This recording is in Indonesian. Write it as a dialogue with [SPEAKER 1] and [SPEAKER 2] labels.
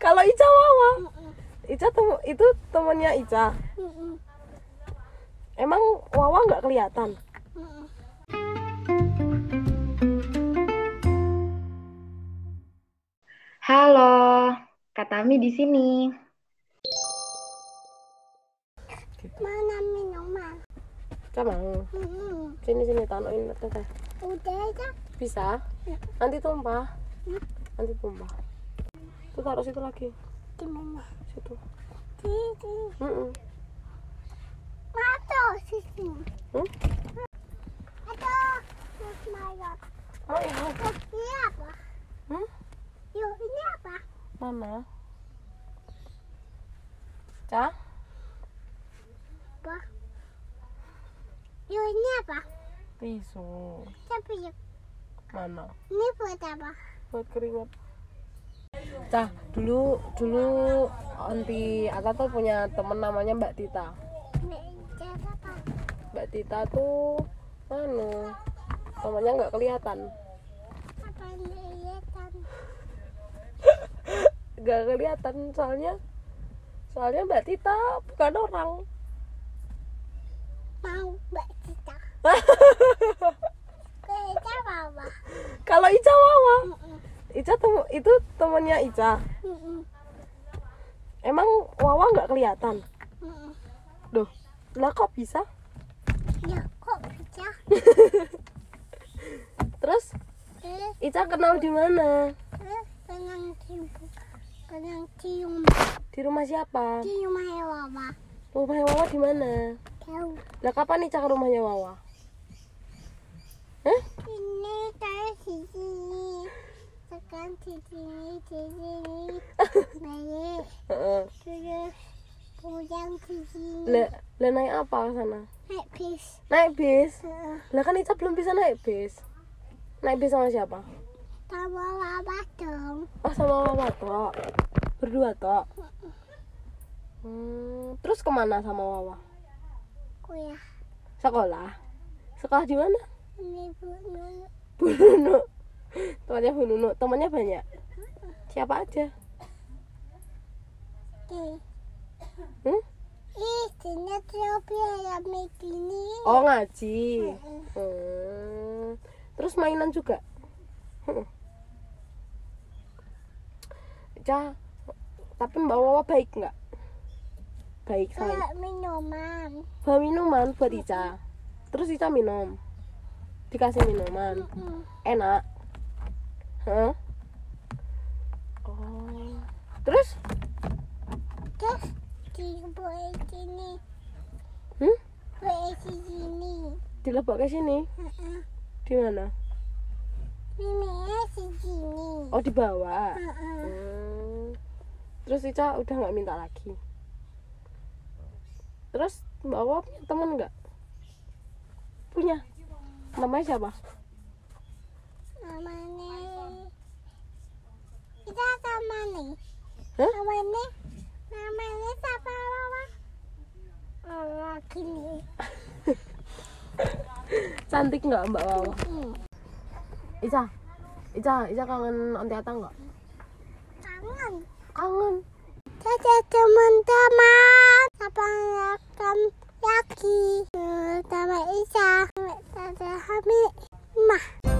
[SPEAKER 1] Kalau Ica Wawa. Ica tem- itu temennya Ica. Emang Wawa nggak kelihatan?
[SPEAKER 2] Halo, Katami di sini.
[SPEAKER 3] Mana minuman?
[SPEAKER 1] Coba
[SPEAKER 3] Hum, Mm-mm.
[SPEAKER 1] sini sini tanuin teteh.
[SPEAKER 3] Udah aja.
[SPEAKER 1] Bisa?
[SPEAKER 3] Ya.
[SPEAKER 1] Nanti tumpah. Nanti tumpah. Itu taruh situ lagi.
[SPEAKER 3] Di mana?
[SPEAKER 1] Situ.
[SPEAKER 3] Di sini.
[SPEAKER 1] Mm-mm.
[SPEAKER 3] Mata di sini.
[SPEAKER 1] Hmm?
[SPEAKER 3] Ada. Terus mayat.
[SPEAKER 1] Oh, iya.
[SPEAKER 3] Terus ini apa?
[SPEAKER 1] Hmm?
[SPEAKER 3] Yuk ini apa?
[SPEAKER 1] Mana? Cah?
[SPEAKER 3] Apa? Yuk ini apa?
[SPEAKER 1] Tisu.
[SPEAKER 3] Tapi yuk.
[SPEAKER 1] Mana?
[SPEAKER 3] Ini buat apa?
[SPEAKER 1] buat keringat. Cah, dulu dulu anti Ata tuh punya temen namanya Mbak Tita.
[SPEAKER 3] Meja apa?
[SPEAKER 1] Mbak Tita tuh anu temannya nggak kelihatan,
[SPEAKER 3] Apa ini kelihatan?
[SPEAKER 1] nggak kelihatan soalnya soalnya Mbak Tita bukan orang.
[SPEAKER 3] Mau Mbak Cita. Meja apa?
[SPEAKER 1] Kalau Ica Wawa,
[SPEAKER 3] Hum,
[SPEAKER 1] Ica tem- itu temannya Ica.
[SPEAKER 3] Mm-mm.
[SPEAKER 1] Emang Wawa nggak kelihatan?
[SPEAKER 3] Mm-mm.
[SPEAKER 1] Duh, lah kok bisa?
[SPEAKER 3] Ya kok bisa?
[SPEAKER 1] Terus
[SPEAKER 3] Eh,
[SPEAKER 1] Ica kenal di mana?
[SPEAKER 3] eh, Tenang cium. Tenang cium.
[SPEAKER 1] Di rumah siapa?
[SPEAKER 3] Cium ayo mama.
[SPEAKER 1] Rumahnya Wawa di mana?
[SPEAKER 3] Tahu.
[SPEAKER 1] Lah kapan nih cak rumahnya Wawa?
[SPEAKER 3] Ini dari sini. Tekan di sini, di sini. Baik.
[SPEAKER 1] Heeh.
[SPEAKER 3] Terus pulang di sini.
[SPEAKER 1] Lah lah naik apa ke sana?
[SPEAKER 3] Naik bis.
[SPEAKER 1] Naik bis.
[SPEAKER 3] Heeh.
[SPEAKER 1] Lah kan Ica belum bisa naik bis. Naik bis sama siapa?
[SPEAKER 3] Tambah lama dong.
[SPEAKER 1] Oh sama Wawa tok. Berdua tok. Hmm, terus kemana sama Wawa?
[SPEAKER 3] Kuya.
[SPEAKER 1] Sekolah. Sekolah di mana?
[SPEAKER 3] Ini bu Nunu.
[SPEAKER 1] Bu Nunu. Temannya Bu Nunu. Temannya banyak. Siapa aja?
[SPEAKER 3] Eh.
[SPEAKER 1] Hmm?
[SPEAKER 3] Ih, sini tropi ayam ini.
[SPEAKER 1] Oh ngaji. Hmm. Terus mainan juga. Hmm. Ca, tapi Mbak Wawa baik nggak? Baik sayang.
[SPEAKER 3] Kalau minuman.
[SPEAKER 1] Bawa minuman buat Ica. Terus Ica minum. Dikasih minuman.
[SPEAKER 3] Mm-mm.
[SPEAKER 1] Enak. Hah? Oh. Terus?
[SPEAKER 3] Terus di boleh sini.
[SPEAKER 1] Hmm?
[SPEAKER 3] Boleh di sini.
[SPEAKER 1] Dilebok ke sini.
[SPEAKER 3] Heeh.
[SPEAKER 1] Di mana?
[SPEAKER 3] Ini di sini.
[SPEAKER 1] Oh, di bawah.
[SPEAKER 3] Heeh.
[SPEAKER 1] Hmm. Terus Ica udah nggak minta lagi. Terus Mbak Wawa punya temen nggak? Punya. Namanya siapa?
[SPEAKER 3] Namanya kita sama nih.
[SPEAKER 1] Hah?
[SPEAKER 3] Namanya namanya siapa mama? Allah gini.
[SPEAKER 1] Cantik nggak Mbak Wawa?
[SPEAKER 3] Hmm.
[SPEAKER 1] Ica, Ica, Ica kangen Onti Ata nggak?
[SPEAKER 3] Kangen.
[SPEAKER 1] Kangen.
[SPEAKER 3] Dadah teman-teman. Sampai ketemu lagi. Sama Isa. Sama Hamid. Mah.